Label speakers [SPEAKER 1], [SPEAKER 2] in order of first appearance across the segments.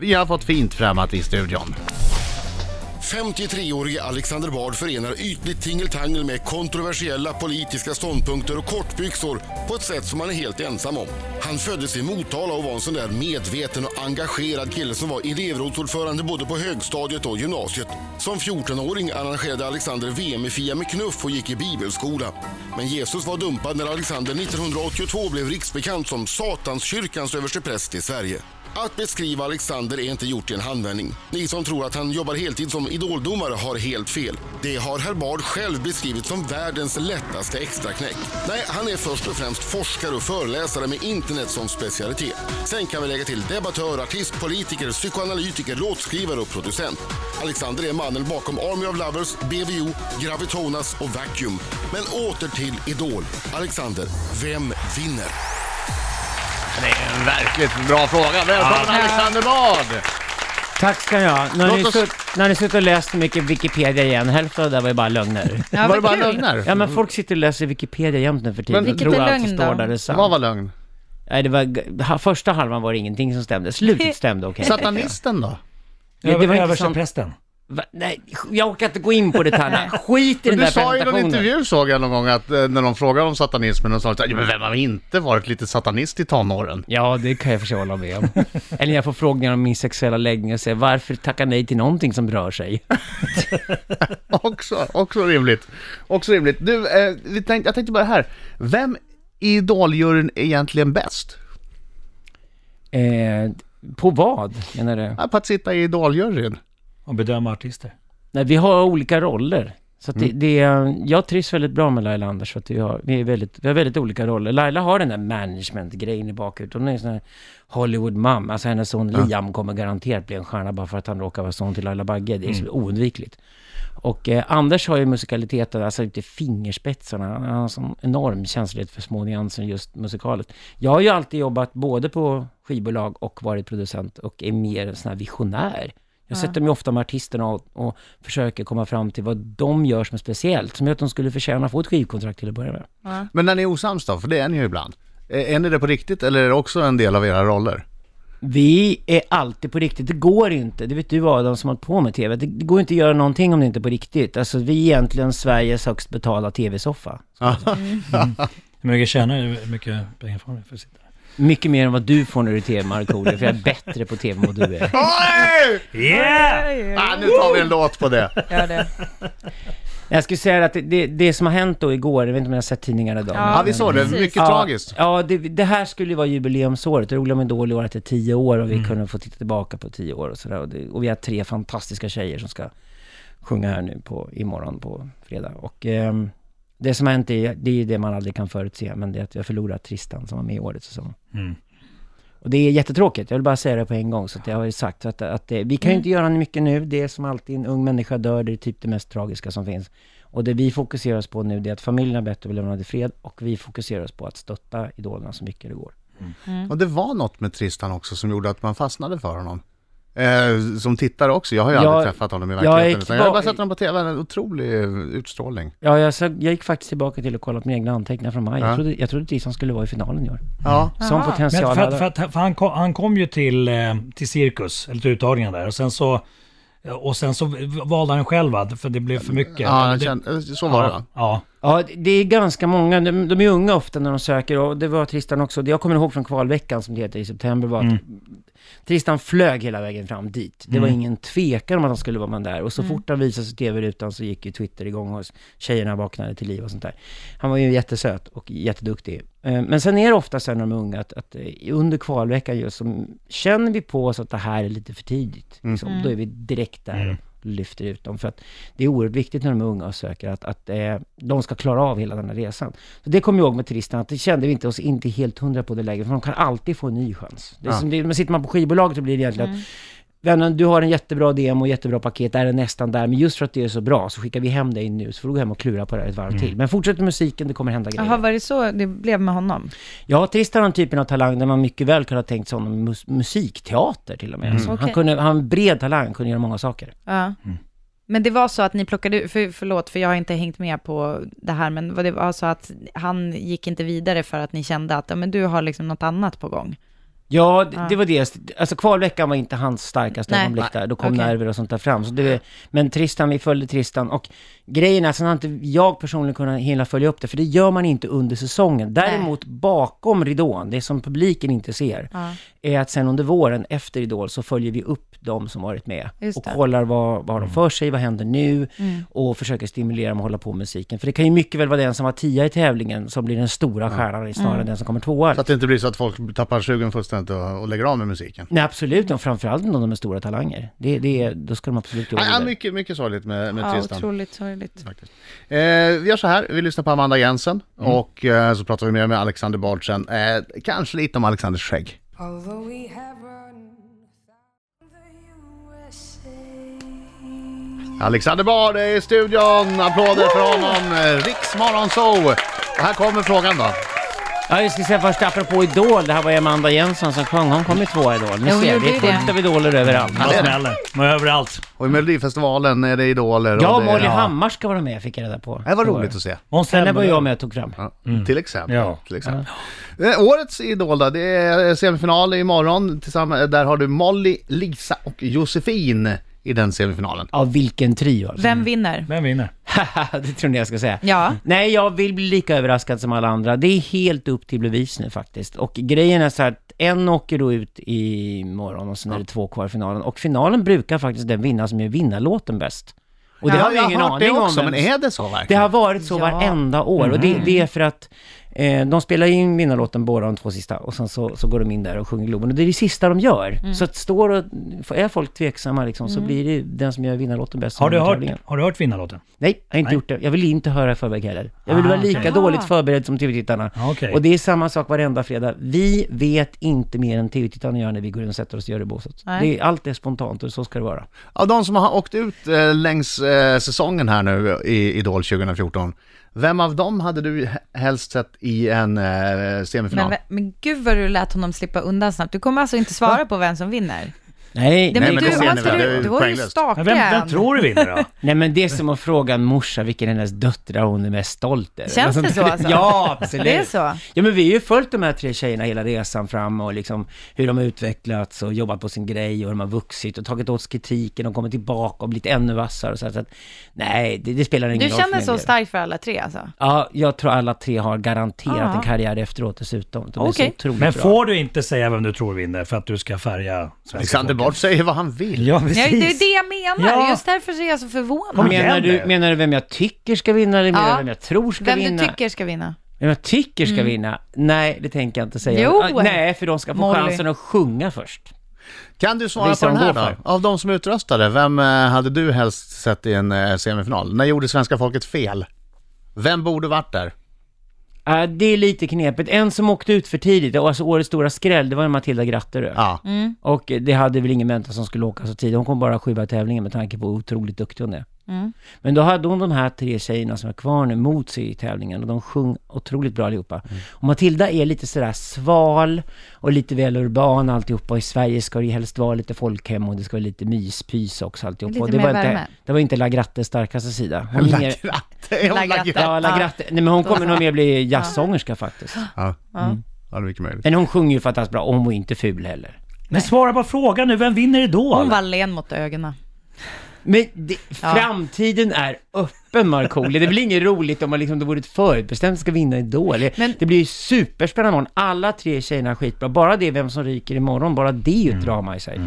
[SPEAKER 1] Vi har fått fint främmat i studion.
[SPEAKER 2] 53-årige Alexander Bard förenar ytligt tingeltangel med kontroversiella politiska ståndpunkter och kortbyxor på ett sätt som han är helt ensam om. Han föddes i Motala och var en sån där medveten och engagerad kille som var elevrådsordförande både på högstadiet och gymnasiet. Som 14-åring arrangerade Alexander VM i Fia med knuff och gick i bibelskola. Men Jesus var dumpad när Alexander 1982 blev riksbekant som Satanskyrkans överstepräst i Sverige. Att beskriva Alexander är inte gjort i en handvändning. Ni som tror att han jobbar heltid som idoldomare har helt fel. Det har herr Bard själv beskrivit som världens lättaste extraknäck. Nej, han är först och främst forskare och föreläsare med internet som specialitet. Sen kan vi lägga till debattör, artist, politiker, psykoanalytiker, låtskrivare och producent. Alexander är mannen bakom Army of Lovers, BVO, Gravitonas och Vacuum. Men åter till Idol. Alexander, vem vinner?
[SPEAKER 1] Det är en verkligt bra fråga. Välkommen Alexander Bard!
[SPEAKER 3] Tack ska ni ha. Nu har
[SPEAKER 1] Låt
[SPEAKER 3] ni,
[SPEAKER 1] oss-
[SPEAKER 3] sutt, när ni suttit och läst så mycket Wikipedia igen, hälften av det där var ju bara lögner.
[SPEAKER 1] var det
[SPEAKER 4] Ja, vad
[SPEAKER 1] bara
[SPEAKER 4] kul.
[SPEAKER 1] lögner?
[SPEAKER 3] Ja men folk sitter och läser Wikipedia jämt nu för tiden.
[SPEAKER 1] Men
[SPEAKER 3] och
[SPEAKER 4] vilket
[SPEAKER 3] tror allt
[SPEAKER 4] är
[SPEAKER 3] som
[SPEAKER 4] lögn
[SPEAKER 3] står
[SPEAKER 4] då?
[SPEAKER 3] där är sant.
[SPEAKER 1] Vad var lögn?
[SPEAKER 3] Nej, det var, g- ha- första halvan var det ingenting som stämde, slutet stämde okej.
[SPEAKER 1] Satanisten då?
[SPEAKER 3] Det, det var inte sant.
[SPEAKER 5] Översteprästen.
[SPEAKER 3] Va? Nej, jag orkar inte gå in på detaljerna. Skit i
[SPEAKER 1] Men
[SPEAKER 3] den där
[SPEAKER 1] du sa i någon
[SPEAKER 3] presentationen.
[SPEAKER 1] intervju såg jag någon gång att eh, när de frågade om satanismen, de sa att ja, men vem har inte varit lite satanist i tonåren?
[SPEAKER 3] Ja, det kan jag förstå hålla med om. Eller när jag får frågningar om min sexuella läggning och säger varför tacka nej till någonting som rör sig?
[SPEAKER 1] Också, också rimligt. Också rimligt. Du, eh, vi tänkte, jag tänkte bara här. Vem i Idoljuryn är egentligen bäst?
[SPEAKER 3] Eh, på vad menar du?
[SPEAKER 1] Ja, på att sitta i Idoljuryn.
[SPEAKER 5] Och bedöma artister.
[SPEAKER 3] Nej, vi har olika roller. Så att det, det, är- jag trivs väldigt bra med Laila Anders, för att vi har, vi, är väldigt, vi har väldigt olika roller. Laila har den där management-grejen i bakhuvudet. Hon är en sån här Hollywood-mam. Alltså hennes son Liam kommer garanterat bli en stjärna bara för att han råkar vara son till Laila Bagge. Det är så oundvikligt. Och eh, Anders har ju musikaliteten, alltså ut i fingerspetsarna. Han har en sån enorm känslighet för små nyanser i just musikalet. Jag har ju alltid jobbat både på skivbolag och varit producent och är mer en sån här visionär. Jag sätter mig ofta med artisterna och, och försöker komma fram till vad de gör som är speciellt, som gör att de skulle förtjäna att få ett skivkontrakt till att börja med.
[SPEAKER 1] Men när ni är osams då? För det är ni ju ibland. Eh, Är ni det på riktigt eller är det också en del av era roller?
[SPEAKER 3] Vi är alltid på riktigt. Det går inte. Det vet du Adam som har hållit på med TV. Det, det går inte att göra någonting om det inte är på riktigt. Alltså vi är egentligen Sveriges högst betalda TV-soffa.
[SPEAKER 5] Hur mycket tjänar du? Hur mycket pengar får du för att sitta där?
[SPEAKER 3] Mycket mer än vad du får när du är TV Markoolio, för jag är bättre på TV än vad du är.
[SPEAKER 1] Oj!
[SPEAKER 5] Yeah!
[SPEAKER 1] Ah, nu tar vi en låt på det.
[SPEAKER 4] Gör det.
[SPEAKER 3] Jag skulle säga att det, det, det som har hänt då igår, jag vet inte om ni har sett tidningarna idag.
[SPEAKER 4] Ja.
[SPEAKER 1] Ja, vi såg det. Mycket
[SPEAKER 3] Ja,
[SPEAKER 1] tragiskt.
[SPEAKER 3] Ja, det, det här skulle ju vara jubileumsåret. Det roliga med Idol i år är att det är tio år och vi
[SPEAKER 1] Mm.
[SPEAKER 3] kunde få titta tillbaka på tio år och sådär. Och, det- och vi har tre fantastiska tjejer som ska sjunga här nu på, imorgon på fredag. Och ehm, det som har hänt är, det är ju det man aldrig kan förutse, men det är att vi har förlorat Tristan som var med i årets säsong.
[SPEAKER 5] Mm.
[SPEAKER 3] Och det är jättetråkigt, jag vill bara säga det på en gång, så att jag har ju sagt att, att det, vi kan ju inte göra mycket nu, det är som alltid, en ung människa dör, det är typ det mest tragiska som finns. Och det vi fokuserar oss på nu, det är att familjen har bett att bli lämnad i fred, och vi fokuserar oss på att stötta idolerna så mycket det går.
[SPEAKER 1] Och det var något med Tristan också som gjorde att man fastnade för honom. Eh, som tittare också. Jag har ju
[SPEAKER 3] Jag-
[SPEAKER 1] aldrig träffat honom i
[SPEAKER 3] jag
[SPEAKER 1] verkligheten.
[SPEAKER 3] är
[SPEAKER 1] utan jag har bara
[SPEAKER 3] kvar-
[SPEAKER 1] sett honom på TV. En otrolig eh, utstrålning.
[SPEAKER 3] Ja, jag, sa- jag gick faktiskt tillbaka till och kollade på mina egna anteckningar från maj.
[SPEAKER 1] Ja.
[SPEAKER 3] Jag trodde, jag trodde Tristan skulle vara i finalen i år.
[SPEAKER 1] Ja.
[SPEAKER 3] Som
[SPEAKER 4] Aha.
[SPEAKER 5] Men
[SPEAKER 3] potential
[SPEAKER 5] för att,
[SPEAKER 3] hade...
[SPEAKER 5] för att, för han, kom, han kom ju till, eh, till cirkus, eller till uttagningen där. Och sen så, eh, och sen så valde han själv va? för det blev för mycket.
[SPEAKER 1] Ja, jag
[SPEAKER 5] det,
[SPEAKER 1] kände, eh, så var det
[SPEAKER 5] ja,
[SPEAKER 1] va?
[SPEAKER 5] ja.
[SPEAKER 3] Ja, det är ganska många. De, de är unga ofta när de söker och det var Tristan också. Det jag kommer ihåg från kvalveckan som det heter i september var att Tristan flög hela vägen fram dit. Det var ingen tvekan om att han skulle vara med där. Och så fort han visade sig i tv-rutan så gick ju Twitter igång och tjejerna vaknade till liv och sånt där. Han var ju jättesöt och jätteduktig. Eh, Men sen är det ofta så här när de är unga att, att eh, under kvalveckan just så känner vi på oss att det här är lite för tidigt. Liksom. Då är vi direkt där och lyfter ut dem. För att det är oerhört viktigt när de är unga och söker att, att eh, de ska klara av hela den här resan. Så det kommer jag ihåg med turisterna, att det kände vi inte oss inte helt hundra på det läget, för de kan alltid få en ny chans. Det är
[SPEAKER 1] Ja.
[SPEAKER 3] som det, men sitter man på skivbolaget så blir det egentligen att Vännen, du har en jättebra demo och jättebra paket, där är nästan där, men just för att det är så bra så skickar vi hem dig nu, så får du gå hem och klura på det här ett varv till. Men fortsätt med musiken, det kommer hända grejer.
[SPEAKER 4] Jaha, var det så det blev med honom?
[SPEAKER 3] Ja, Tristan har den typen av talang där man mycket väl kunde ha tänkt sig honom i mus- musikteater till och med. Så han,
[SPEAKER 4] Okej.
[SPEAKER 3] kunde, han har en bred talang, kunde göra många saker.
[SPEAKER 4] Ja.
[SPEAKER 1] Mm.
[SPEAKER 4] Men det var så att ni plockade ut, för, förlåt för jag har inte hängt med på det här, men vad det var så att han gick inte vidare för att ni kände att ja, men du har liksom något annat på gång.
[SPEAKER 3] Ja, det,
[SPEAKER 4] Ja.
[SPEAKER 3] det var det. Alltså kvalveckan var inte hans starkaste
[SPEAKER 4] Nej.
[SPEAKER 3] ögonblick där. Då kom
[SPEAKER 4] Okej.
[SPEAKER 3] nerver och sånt där fram. Så det, men Tristan, vi följde Tristan. Och grejen är att sen har inte jag personligen kunnat hinna följa upp det, för det gör man inte under säsongen. Däremot bakom ridån, det som publiken inte ser,
[SPEAKER 4] Ja.
[SPEAKER 3] är att sen under våren efter Idol så följer vi upp de som varit med.
[SPEAKER 4] Just
[SPEAKER 3] och
[SPEAKER 4] det.
[SPEAKER 3] kollar vad,
[SPEAKER 1] Mm.
[SPEAKER 3] vad har de för sig, vad händer nu?
[SPEAKER 4] Mm.
[SPEAKER 3] Och försöker stimulera dem att hålla på med musiken. För det kan ju mycket väl vara den som var tia i tävlingen som blir den stora stjärnan
[SPEAKER 4] Mm.
[SPEAKER 3] snarare än den som kommer tvåa.
[SPEAKER 1] Så att det inte blir så att folk tappar sugen fullständigt och, och lägger av med musiken.
[SPEAKER 3] Nej, absolut. Och framförallt om de är stora talanger. Det, det, är- då ska de absolut göra
[SPEAKER 1] Ja, ja,
[SPEAKER 3] det.
[SPEAKER 1] mycket, mycket sorgligt med, med
[SPEAKER 4] Ja,
[SPEAKER 1] Tristan.
[SPEAKER 4] otroligt sorgligt.
[SPEAKER 1] Faktiskt. Eh, vi gör så här, vi lyssnar på Amanda Jensen och eh, så pratar vi mer med Alexander Bard sen. Eh, kanske lite om Alexanders skägg.
[SPEAKER 6] Although we have run the USA.
[SPEAKER 1] Alexander Bard är i studion, applåder för honom. Eh, Riksmorgon Zoo. Och Här kommer frågan då.
[SPEAKER 3] Ja, jag ska säga först, apropå Idol, det här var ju Amanda Jensen som sjöng. Hon kom ju tvåa i Idol. Ni
[SPEAKER 4] Ja, hon
[SPEAKER 3] ser,
[SPEAKER 4] gjorde
[SPEAKER 3] det är
[SPEAKER 4] ju
[SPEAKER 3] fullt
[SPEAKER 4] det.
[SPEAKER 3] av Idoler överallt.
[SPEAKER 5] Alla smäller. Men överallt.
[SPEAKER 1] Och i Melodifestivalen är det idoler.
[SPEAKER 3] Ja,
[SPEAKER 1] och det,
[SPEAKER 3] Molly Hammar ska vara med, fick jag reda på.
[SPEAKER 1] Det var roligt att se.
[SPEAKER 5] Hon
[SPEAKER 3] Henne var jag
[SPEAKER 5] stämmer.
[SPEAKER 3] med och tog fram.
[SPEAKER 1] Ja, Till exempel.
[SPEAKER 5] Ja.
[SPEAKER 1] Till exempel. Eh, årets Idol då, det är semifinal imorgon. Tillsammans, eh, där har du Molly, Lisa och Josefin i den semifinalen.
[SPEAKER 3] Ja, vilken trio alltså.
[SPEAKER 4] Vem vinner?
[SPEAKER 5] Vem vinner?
[SPEAKER 3] det tror ni jag ska säga.
[SPEAKER 4] Ja.
[SPEAKER 3] Nej, jag vill bli lika överraskad som alla andra. Det är helt upp till bevis nu faktiskt. Och grejen är så här att en åker då ut i morgon och sen är det två kvar i finalen. Och finalen brukar faktiskt den vinna som gör vinnarlåten bäst. Och det
[SPEAKER 1] Ja,
[SPEAKER 3] har vi
[SPEAKER 1] jag
[SPEAKER 3] ingen
[SPEAKER 1] hört
[SPEAKER 3] aning
[SPEAKER 1] det också,
[SPEAKER 3] om.
[SPEAKER 1] men är Mm. det så verkligen?
[SPEAKER 3] Det har varit så
[SPEAKER 4] Ja.
[SPEAKER 3] varenda år och det, det är för att eh, de spelar in vinnarlåten båda de två sista och sen så, så går de in där och sjunger Globen och det är det sista de gör.
[SPEAKER 4] Mm.
[SPEAKER 3] Så att står och, är folk tveksamma liksom, så blir det den som gör vinnarlåten bäst som
[SPEAKER 5] Har du
[SPEAKER 1] Mm,
[SPEAKER 3] vinner
[SPEAKER 5] hört,
[SPEAKER 3] tävlingen.
[SPEAKER 5] har du hört vinnarlåten?
[SPEAKER 3] Nej, Ah, jag har inte
[SPEAKER 5] Nej.
[SPEAKER 3] gjort det. Jag vill inte höra i förväg heller. Jag vill vara lika
[SPEAKER 4] Ah.
[SPEAKER 5] okej.
[SPEAKER 3] dåligt förberedd som tv-tittarna.
[SPEAKER 5] Ja, okej.
[SPEAKER 3] Och det är samma sak varenda fredag. Vi vet inte mer än tv-tittarna gör när vi går in och sätter oss och gör det i båset.
[SPEAKER 4] Nej.
[SPEAKER 3] Det är, allt är spontant och så ska det vara.
[SPEAKER 1] Av de som har åkt ut eh, längs eh, säsongen här nu i Idol 2014, vem av dem hade du he- helst sett i en eh, semifinal?
[SPEAKER 4] Men, ve- men gud vad du lät honom slippa undan snabbt. Du kommer alltså inte svara på vem som vinner?
[SPEAKER 3] Nej,
[SPEAKER 4] Det,
[SPEAKER 3] nej.
[SPEAKER 1] men
[SPEAKER 4] men
[SPEAKER 1] det
[SPEAKER 4] du,
[SPEAKER 1] ser ni
[SPEAKER 4] alltså,
[SPEAKER 1] väl, det är
[SPEAKER 4] du,
[SPEAKER 1] ju
[SPEAKER 4] du var ju
[SPEAKER 1] poänglöst.
[SPEAKER 5] Men
[SPEAKER 4] stakig.
[SPEAKER 5] vem, vem tror du vinner då?
[SPEAKER 3] men det är som att fråga en morsa vilken hennes döttrar hon är mest stolt över.
[SPEAKER 4] Känns det så alltså?
[SPEAKER 3] Ja, absolut.
[SPEAKER 4] Det är så?
[SPEAKER 3] Ja, men vi har ju följt de här tre tjejerna hela resan fram och liksom hur de har utvecklats och jobbat på sin grej och hur de har vuxit och tagit åt sig kritiken och kommit tillbaka och blivit ännu vassare och så, här, så att, Nej, det, det spelar ingen
[SPEAKER 4] Du
[SPEAKER 3] roll för
[SPEAKER 4] känner
[SPEAKER 3] min
[SPEAKER 4] så
[SPEAKER 3] del.
[SPEAKER 4] starkt för alla tre alltså?
[SPEAKER 3] Ja, jag tror alla tre har garanterat
[SPEAKER 4] Ja.
[SPEAKER 3] en karriär efteråt dessutom. De är så
[SPEAKER 4] Okej.
[SPEAKER 3] otroligt
[SPEAKER 5] Men
[SPEAKER 3] bra.
[SPEAKER 5] får du inte säga vem du tror vinner för att du ska färga svenska
[SPEAKER 1] Alexander
[SPEAKER 5] folket?
[SPEAKER 1] Bard säger vad han vill.
[SPEAKER 5] Ja,
[SPEAKER 4] Ja, det är
[SPEAKER 5] precis.
[SPEAKER 4] det jag menar.
[SPEAKER 5] Ja.
[SPEAKER 4] Just därför så är jag så förvånad.
[SPEAKER 5] Kom igen.
[SPEAKER 3] Menar du,
[SPEAKER 5] nu.
[SPEAKER 3] menar du vem jag tycker ska vinna eller menar
[SPEAKER 4] Ja.
[SPEAKER 3] du vem jag tror ska
[SPEAKER 4] Vem
[SPEAKER 3] vinna?
[SPEAKER 4] du tycker ska vinna?
[SPEAKER 3] Vem jag tycker ska vinna? Nej, det tänker jag inte säga.
[SPEAKER 4] Jo.
[SPEAKER 3] Ah, Nej, för de ska få
[SPEAKER 4] Molly.
[SPEAKER 3] chansen att sjunga först.
[SPEAKER 1] Kan du svara
[SPEAKER 3] Visa
[SPEAKER 1] på den
[SPEAKER 3] vad
[SPEAKER 1] här
[SPEAKER 3] de går
[SPEAKER 1] då?
[SPEAKER 3] för.
[SPEAKER 1] Av de som utröstade, vem eh, hade du helst sett i en eh, semifinal? När gjorde svenska folket fel? Vem borde varit där?
[SPEAKER 3] Äh, det är lite knepigt. En som åkte ut för tidigt, alltså årets stora skräll, det var Matilda Gratterö.
[SPEAKER 1] Ja.
[SPEAKER 3] Och eh, det hade väl ingen väntat som skulle åka så tidigt. Hon kom bara sjua i tävlingen med tanke på hur otroligt duktig hon är.
[SPEAKER 4] Mm.
[SPEAKER 3] Men då hade hon de här tre tjejerna som är kvar nu mot sig i tävlingen och de sjöng otroligt bra allihopa.
[SPEAKER 4] Mm.
[SPEAKER 3] Och Matilda är lite sådär sval och lite väl urban alltihopa. Och I Sverige ska det ju helst vara lite folkhem och det ska vara lite myspys också alltihopa.
[SPEAKER 4] Lite
[SPEAKER 3] och det,
[SPEAKER 4] mer
[SPEAKER 3] var inte,
[SPEAKER 4] värme.
[SPEAKER 3] det var inte La Grattes starkaste sida. Hon är
[SPEAKER 1] La
[SPEAKER 3] mer,
[SPEAKER 1] Gratte, är hon
[SPEAKER 4] La
[SPEAKER 1] La
[SPEAKER 4] Gratte.
[SPEAKER 1] Gratte?
[SPEAKER 3] ja, La
[SPEAKER 4] Ja.
[SPEAKER 3] Gratte. Nej, men hon kommer nog mer bli jazzsångerska faktiskt.
[SPEAKER 1] Ja, Mm.
[SPEAKER 4] Ja.
[SPEAKER 1] ja, det är mycket möjligt.
[SPEAKER 3] Men hon sjunger ju fantastiskt bra och hon var inte ful heller.
[SPEAKER 5] Men svara på frågan nu, vem vinner Idol?
[SPEAKER 4] Hon var len mot ögonen.
[SPEAKER 3] Men det, framtiden är öppen Markoolio. Det blir inget roligt om man liksom, det vore ett förutbestämt ska vinna Idol. Det-
[SPEAKER 4] Men-
[SPEAKER 3] det blir ju superspännande imorgon. Alla tre tjejerna är skitbra. Bara det vem som ryker imorgon, bara det är ju ett drama i sig.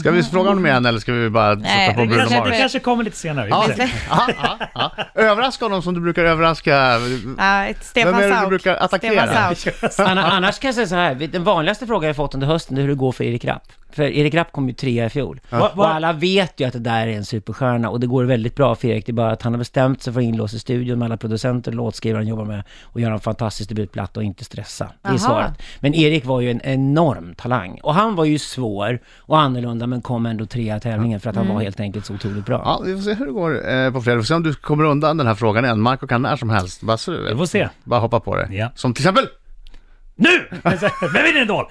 [SPEAKER 1] Ska vi fråga honom igen eller ska vi bara sätta
[SPEAKER 4] Nej,
[SPEAKER 1] på
[SPEAKER 4] vi
[SPEAKER 1] Bruno
[SPEAKER 5] kanske,
[SPEAKER 4] släpper-
[SPEAKER 1] Mars?
[SPEAKER 5] det kanske kommer lite senare.
[SPEAKER 1] Ja,
[SPEAKER 5] Vi får se.
[SPEAKER 1] ja, ja, ja. Överraska honom som du brukar överraska. eh,
[SPEAKER 4] Ja, ett Stefan
[SPEAKER 1] Vem är det du
[SPEAKER 4] Sauk.
[SPEAKER 1] brukar attackera?
[SPEAKER 4] Stefan Sauk.
[SPEAKER 3] Anna, annars kan jag säga så här, vet- den vanligaste frågan jag fått under hösten det är hur det går för Erik Rapp. För Erik Rapp kom ju trea i fjol.
[SPEAKER 5] Va- va-
[SPEAKER 3] Och alla vet ju att det där är en superstjärna och det går väldigt bra för Erik. Det är bara att han har bestämt sig för att inlåsa i studion med alla producenter och låtskrivare han jobbar med och göra en fantastisk debutplatta och inte stressa. Det är
[SPEAKER 4] Aha.
[SPEAKER 3] svaret. Men Erik var ju en enorm talang. Och han var ju svår och annorlunda men kom ändå trea i tävlingen för att han var helt enkelt så otroligt bra.
[SPEAKER 1] Ja, vi får se hur det går eh, på fredag. Vi får se om du kommer undan den här frågan än. Marco kan när som helst. Bara, så du
[SPEAKER 5] Vi
[SPEAKER 1] vet.
[SPEAKER 5] får se.
[SPEAKER 1] Bara hoppa på det.
[SPEAKER 5] Ja.
[SPEAKER 1] Som till exempel
[SPEAKER 5] Nu! Vem vinner Idol?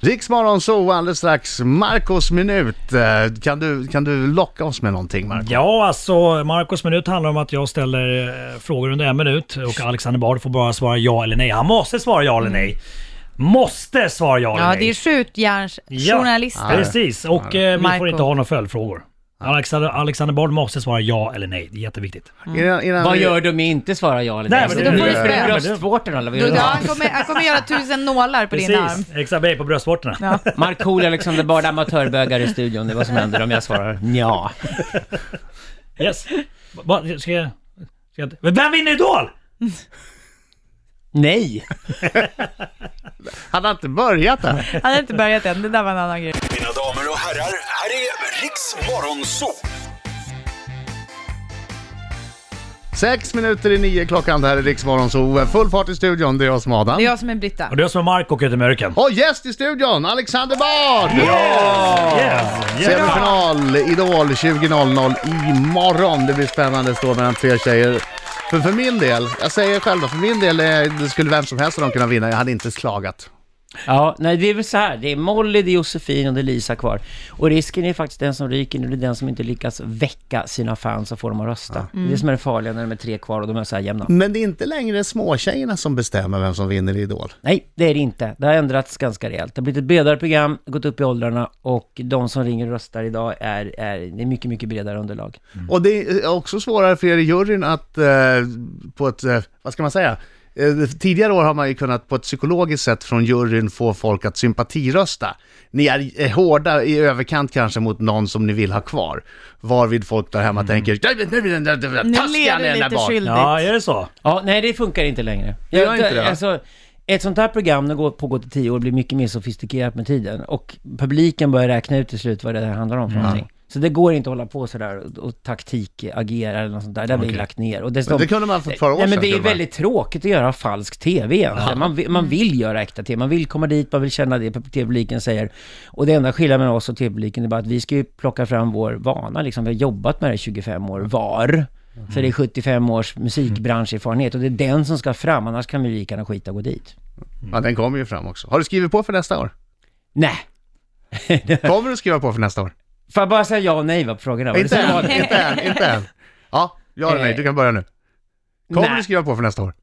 [SPEAKER 1] Riksmorgon så alldeles strax. Marcos minut. Eh, Kan du, kan du locka oss med någonting Marco?
[SPEAKER 5] Ja, alltså Marcos minut handlar om att jag ställer eh, frågor under en minut och Alexander Bard får bara svara ja eller nej. Han måste svara ja eller nej. Måste svarar jag eller
[SPEAKER 4] Ja,
[SPEAKER 5] nej.
[SPEAKER 4] det är skjutjärnsjournalister.
[SPEAKER 5] Precis, och eh, vi
[SPEAKER 4] Marco.
[SPEAKER 5] får inte ha några följdfrågor. Alexander, Alexander Bard måste svara ja eller nej. Det är jätteviktigt.
[SPEAKER 1] Innan, innan
[SPEAKER 3] Vad
[SPEAKER 1] vi-
[SPEAKER 3] gör du om jag inte svarar ja eller
[SPEAKER 5] Nej,
[SPEAKER 3] nej?
[SPEAKER 5] men
[SPEAKER 3] Så
[SPEAKER 4] det-
[SPEAKER 3] då får du
[SPEAKER 4] det-
[SPEAKER 3] spela
[SPEAKER 5] det-
[SPEAKER 3] bröstvårtan eller vad
[SPEAKER 4] Du,
[SPEAKER 3] gör
[SPEAKER 4] du,
[SPEAKER 3] du?
[SPEAKER 4] han, kommer, han kommer göra tusen nålar på din arm.
[SPEAKER 5] Precis, exakt. Brej på bröstvårtorna.
[SPEAKER 3] Markoolio Alexander Bard, amatörbögar i studion. Det är vad som händer om jag svarar ja.
[SPEAKER 5] Yes. Va, va- ska jag, ska jag, Men vem vinner Idol?
[SPEAKER 3] Nej!
[SPEAKER 1] Hade han inte börjat där?
[SPEAKER 4] Han hade inte börjat än, det där var en annan grej.
[SPEAKER 7] Mina damer och herrar, här är Riks Morgonzoo!
[SPEAKER 1] Sex minuter i nio klockan, det här är Riksmorgon, så eh, full fart i studion, det är jag som Adam.
[SPEAKER 4] Det är jag som är Britta.
[SPEAKER 5] Och du som är Marco och Ute i mörken.
[SPEAKER 1] Och gäst i studion, Alexander Bard!
[SPEAKER 5] Yes. yes.
[SPEAKER 1] Semifinal, Idol 20.00 imorgon. Det blir spännande att stå mellan tre tjejer. För, för min del, jag säger själv för min del eh, det skulle vem som helst av dem kunna vinna. Jag hade inte slagat.
[SPEAKER 3] Ja, nej det är väl så här. Det är Molly, det är Josefin och det är Lisa kvar. Och risken är faktiskt den som ryker nu, det är den som inte lyckas väcka sina fans och få dem att rösta. Det är det som är det farliga när de är tre kvar och de är så här jämna.
[SPEAKER 1] Men det är inte längre småtjejerna som bestämmer vem som vinner i Idol.
[SPEAKER 3] Nej, det är det inte. Det har ändrats ganska rejält. Det har blivit ett bredare program, gått upp i åldrarna och de som ringer och röstar idag är, är det är mycket, mycket bredare underlag.
[SPEAKER 1] Och det är också svårare för er i juryn att eh, på ett, eh, vad ska man säga, Eh, Tidigare år har man ju kunnat på ett psykologiskt sätt från juryn få folk att sympatirösta. Ni är eh, hårda i överkant kanske mot någon som ni vill ha kvar. Varvid folk där hemma
[SPEAKER 3] Mm.
[SPEAKER 1] tänker
[SPEAKER 4] Nu
[SPEAKER 1] taskiga
[SPEAKER 4] ler
[SPEAKER 1] ni är
[SPEAKER 4] du
[SPEAKER 1] där
[SPEAKER 4] lite
[SPEAKER 1] bak.
[SPEAKER 4] skyldigt.
[SPEAKER 5] Ja, är det så?
[SPEAKER 3] Ja, nej det funkar inte längre.
[SPEAKER 1] Det gör inte det, va?
[SPEAKER 3] Alltså, ett sånt här program, när det går- pågår till tio år, blir mycket mer sofistikerat med tiden. Och publiken börjar räkna ut till slut vad det här handlar om
[SPEAKER 1] Mm.
[SPEAKER 3] för någonting. Så det går inte att hålla på sådär och, och taktikagera eller något sånt där. Det har vi lagt ner. Och dessutom,
[SPEAKER 1] Men det kunde man för ett par år
[SPEAKER 3] Nej, men
[SPEAKER 1] sedan,
[SPEAKER 3] det är
[SPEAKER 1] kunde man.
[SPEAKER 3] väldigt tråkigt att göra falsk TV egentligen. Man, vill-
[SPEAKER 5] Mm.
[SPEAKER 3] man vill göra äkta TV. Man vill komma dit, man vill känna det TV-publiken säger. Och det enda skillnaden mellan oss och TV-publiken är bara att vi ska ju plocka fram vår vana. Liksom. Vi har jobbat med det i 25 år var.
[SPEAKER 1] Mm.
[SPEAKER 3] Så det är 75 års musikbranscherfarenhet och det är den som ska fram, annars kan vi lika gärna skita och gå dit.
[SPEAKER 1] Ja, den kommer ju fram också. Har du skrivit på för nästa år?
[SPEAKER 3] Nej.
[SPEAKER 1] Kommer du skriva på för nästa år?
[SPEAKER 3] Får jag bara säga ja och nej va, på frågorna? Var det
[SPEAKER 1] inte
[SPEAKER 3] så
[SPEAKER 1] än,
[SPEAKER 3] vanligt?
[SPEAKER 1] inte än, inte än. Ja, ja eller nej, du kan börja nu. Kommer
[SPEAKER 3] Eh, Nej.
[SPEAKER 1] du skriva på för nästa år?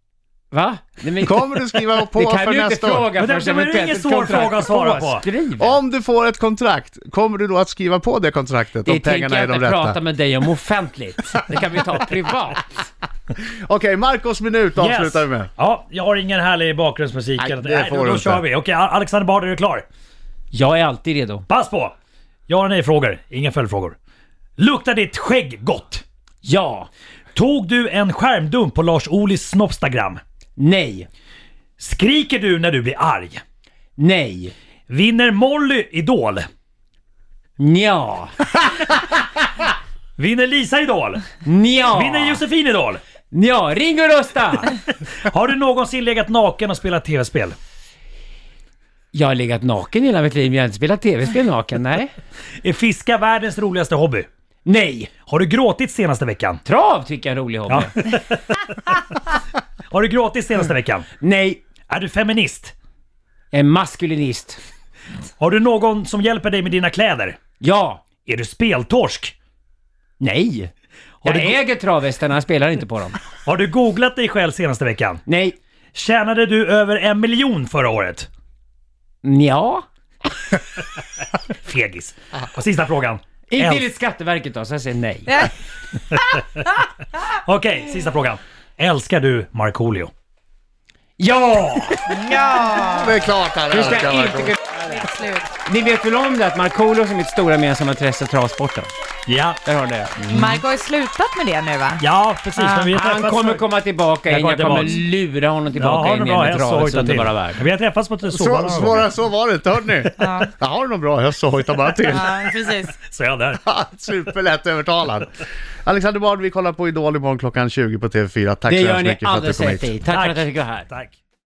[SPEAKER 3] Va? Nej, men-
[SPEAKER 1] Kommer du skriva på
[SPEAKER 3] det
[SPEAKER 1] för
[SPEAKER 3] kan du inte
[SPEAKER 1] nästa år?
[SPEAKER 3] fråga
[SPEAKER 5] Men det-
[SPEAKER 3] förrän
[SPEAKER 5] men det är
[SPEAKER 3] eventuellt
[SPEAKER 5] ingen
[SPEAKER 3] ett
[SPEAKER 5] svår
[SPEAKER 3] kontrakt
[SPEAKER 5] fråga att svara på.
[SPEAKER 3] påskrivet.
[SPEAKER 1] Om du får ett kontrakt, kommer du då att skriva på det kontraktet
[SPEAKER 3] Det
[SPEAKER 1] om
[SPEAKER 3] tänker
[SPEAKER 1] pengarna
[SPEAKER 3] jag
[SPEAKER 1] är
[SPEAKER 3] inte
[SPEAKER 1] de rätta?
[SPEAKER 3] prata med dig om offentligt. Det kan vi ta privat.
[SPEAKER 1] Okej, Marcos minut avslutar vi med.
[SPEAKER 5] Ja, jag har ingen härlig bakgrundsmusik.
[SPEAKER 1] Nej,
[SPEAKER 5] eller-
[SPEAKER 1] det får
[SPEAKER 5] då,
[SPEAKER 1] du
[SPEAKER 5] då
[SPEAKER 1] inte.
[SPEAKER 5] kör vi. Okej, Alexander Bard, är du klar?
[SPEAKER 3] Jag är alltid redo.
[SPEAKER 5] Pass på! Ja eller nej frågor. Inga följdfrågor. Luktar ditt skägg gott?
[SPEAKER 3] Ja.
[SPEAKER 5] Tog du en skärmdump på Lars Ohlys Snopstagram?
[SPEAKER 3] Nej.
[SPEAKER 5] Skriker du när du blir arg?
[SPEAKER 3] Nej.
[SPEAKER 5] Vinner Molly Idol?
[SPEAKER 3] Nja.
[SPEAKER 5] Vinner Lisa Idol?
[SPEAKER 1] Ah.
[SPEAKER 3] Nja.
[SPEAKER 5] Vinner Josefin Idol?
[SPEAKER 3] Nja. Ring och rösta!
[SPEAKER 5] Har du någonsin legat naken och spelat tv-spel?
[SPEAKER 3] Jag har legat naken hela mitt liv, men jag har inte spelat tv-spel naken. Nej.
[SPEAKER 5] Är fiska världens roligaste hobby?
[SPEAKER 3] Nej.
[SPEAKER 5] Har du gråtit senaste veckan?
[SPEAKER 3] Trav tycker jag är en rolig hobby.
[SPEAKER 5] Ja. Har du gråtit senaste veckan?
[SPEAKER 3] Nej.
[SPEAKER 5] Är du feminist?
[SPEAKER 3] Jag är maskulinist.
[SPEAKER 5] Har du någon som hjälper dig med dina kläder?
[SPEAKER 3] Ja.
[SPEAKER 5] Är du speltorsk?
[SPEAKER 3] Nej. Jag
[SPEAKER 5] du-
[SPEAKER 3] äger travhästarna, jag spelar inte på dem.
[SPEAKER 5] Har du googlat dig själv senaste veckan?
[SPEAKER 3] Nej.
[SPEAKER 5] Tjänade du över en miljon förra året?
[SPEAKER 3] Nja.
[SPEAKER 5] Fegis. Och sista frågan.
[SPEAKER 3] Inte
[SPEAKER 5] Älsk-
[SPEAKER 3] enligt Skatteverket då, så jag säger nej.
[SPEAKER 5] Okej, sista frågan. Älskar du Markoolio?
[SPEAKER 3] Ja!
[SPEAKER 1] Det är klart han
[SPEAKER 3] Du ska
[SPEAKER 1] älskar
[SPEAKER 3] inte
[SPEAKER 1] Marco.
[SPEAKER 3] kunna...
[SPEAKER 4] Slut.
[SPEAKER 3] Ni vet väl om det att Markoolio som mitt stora gemensamma intresse är travsporten?
[SPEAKER 5] Ja.
[SPEAKER 3] Där har ni det.
[SPEAKER 4] Marco har ju slutat med det nu va?
[SPEAKER 5] Ja, precis. men vi har
[SPEAKER 3] Ah, Han
[SPEAKER 5] träffats
[SPEAKER 3] kommer
[SPEAKER 5] för-
[SPEAKER 3] komma tillbaka
[SPEAKER 5] Jag
[SPEAKER 3] in. Jag
[SPEAKER 5] kommer
[SPEAKER 3] kommer
[SPEAKER 5] tillbaks.
[SPEAKER 3] lura honom
[SPEAKER 5] Ja,
[SPEAKER 3] tillbaka
[SPEAKER 5] ha
[SPEAKER 3] in
[SPEAKER 5] det
[SPEAKER 3] igen
[SPEAKER 5] bra.
[SPEAKER 3] med
[SPEAKER 5] Jag sa
[SPEAKER 3] travets
[SPEAKER 5] till.
[SPEAKER 3] underbara liksom värld.
[SPEAKER 5] Vi har träffats på ett
[SPEAKER 1] Så,
[SPEAKER 5] sovande
[SPEAKER 1] svårare så var det inte, hörde ni? ja. Jaha, det någon bra höst så hojtar bara till.
[SPEAKER 4] Ja, precis.
[SPEAKER 5] Så jag där.
[SPEAKER 1] Superlätt övertalad. Alexander Bard, vi kollar på Idol imorgon klockan 20 på TV4. Tack
[SPEAKER 3] Det
[SPEAKER 1] så
[SPEAKER 3] gör
[SPEAKER 1] hemskt
[SPEAKER 3] ni
[SPEAKER 1] mycket för att du
[SPEAKER 3] alldeles
[SPEAKER 1] kom
[SPEAKER 3] rätt
[SPEAKER 1] hit.
[SPEAKER 3] i. Tack för
[SPEAKER 5] Tack.
[SPEAKER 3] att jag fick vara här.
[SPEAKER 5] Tack.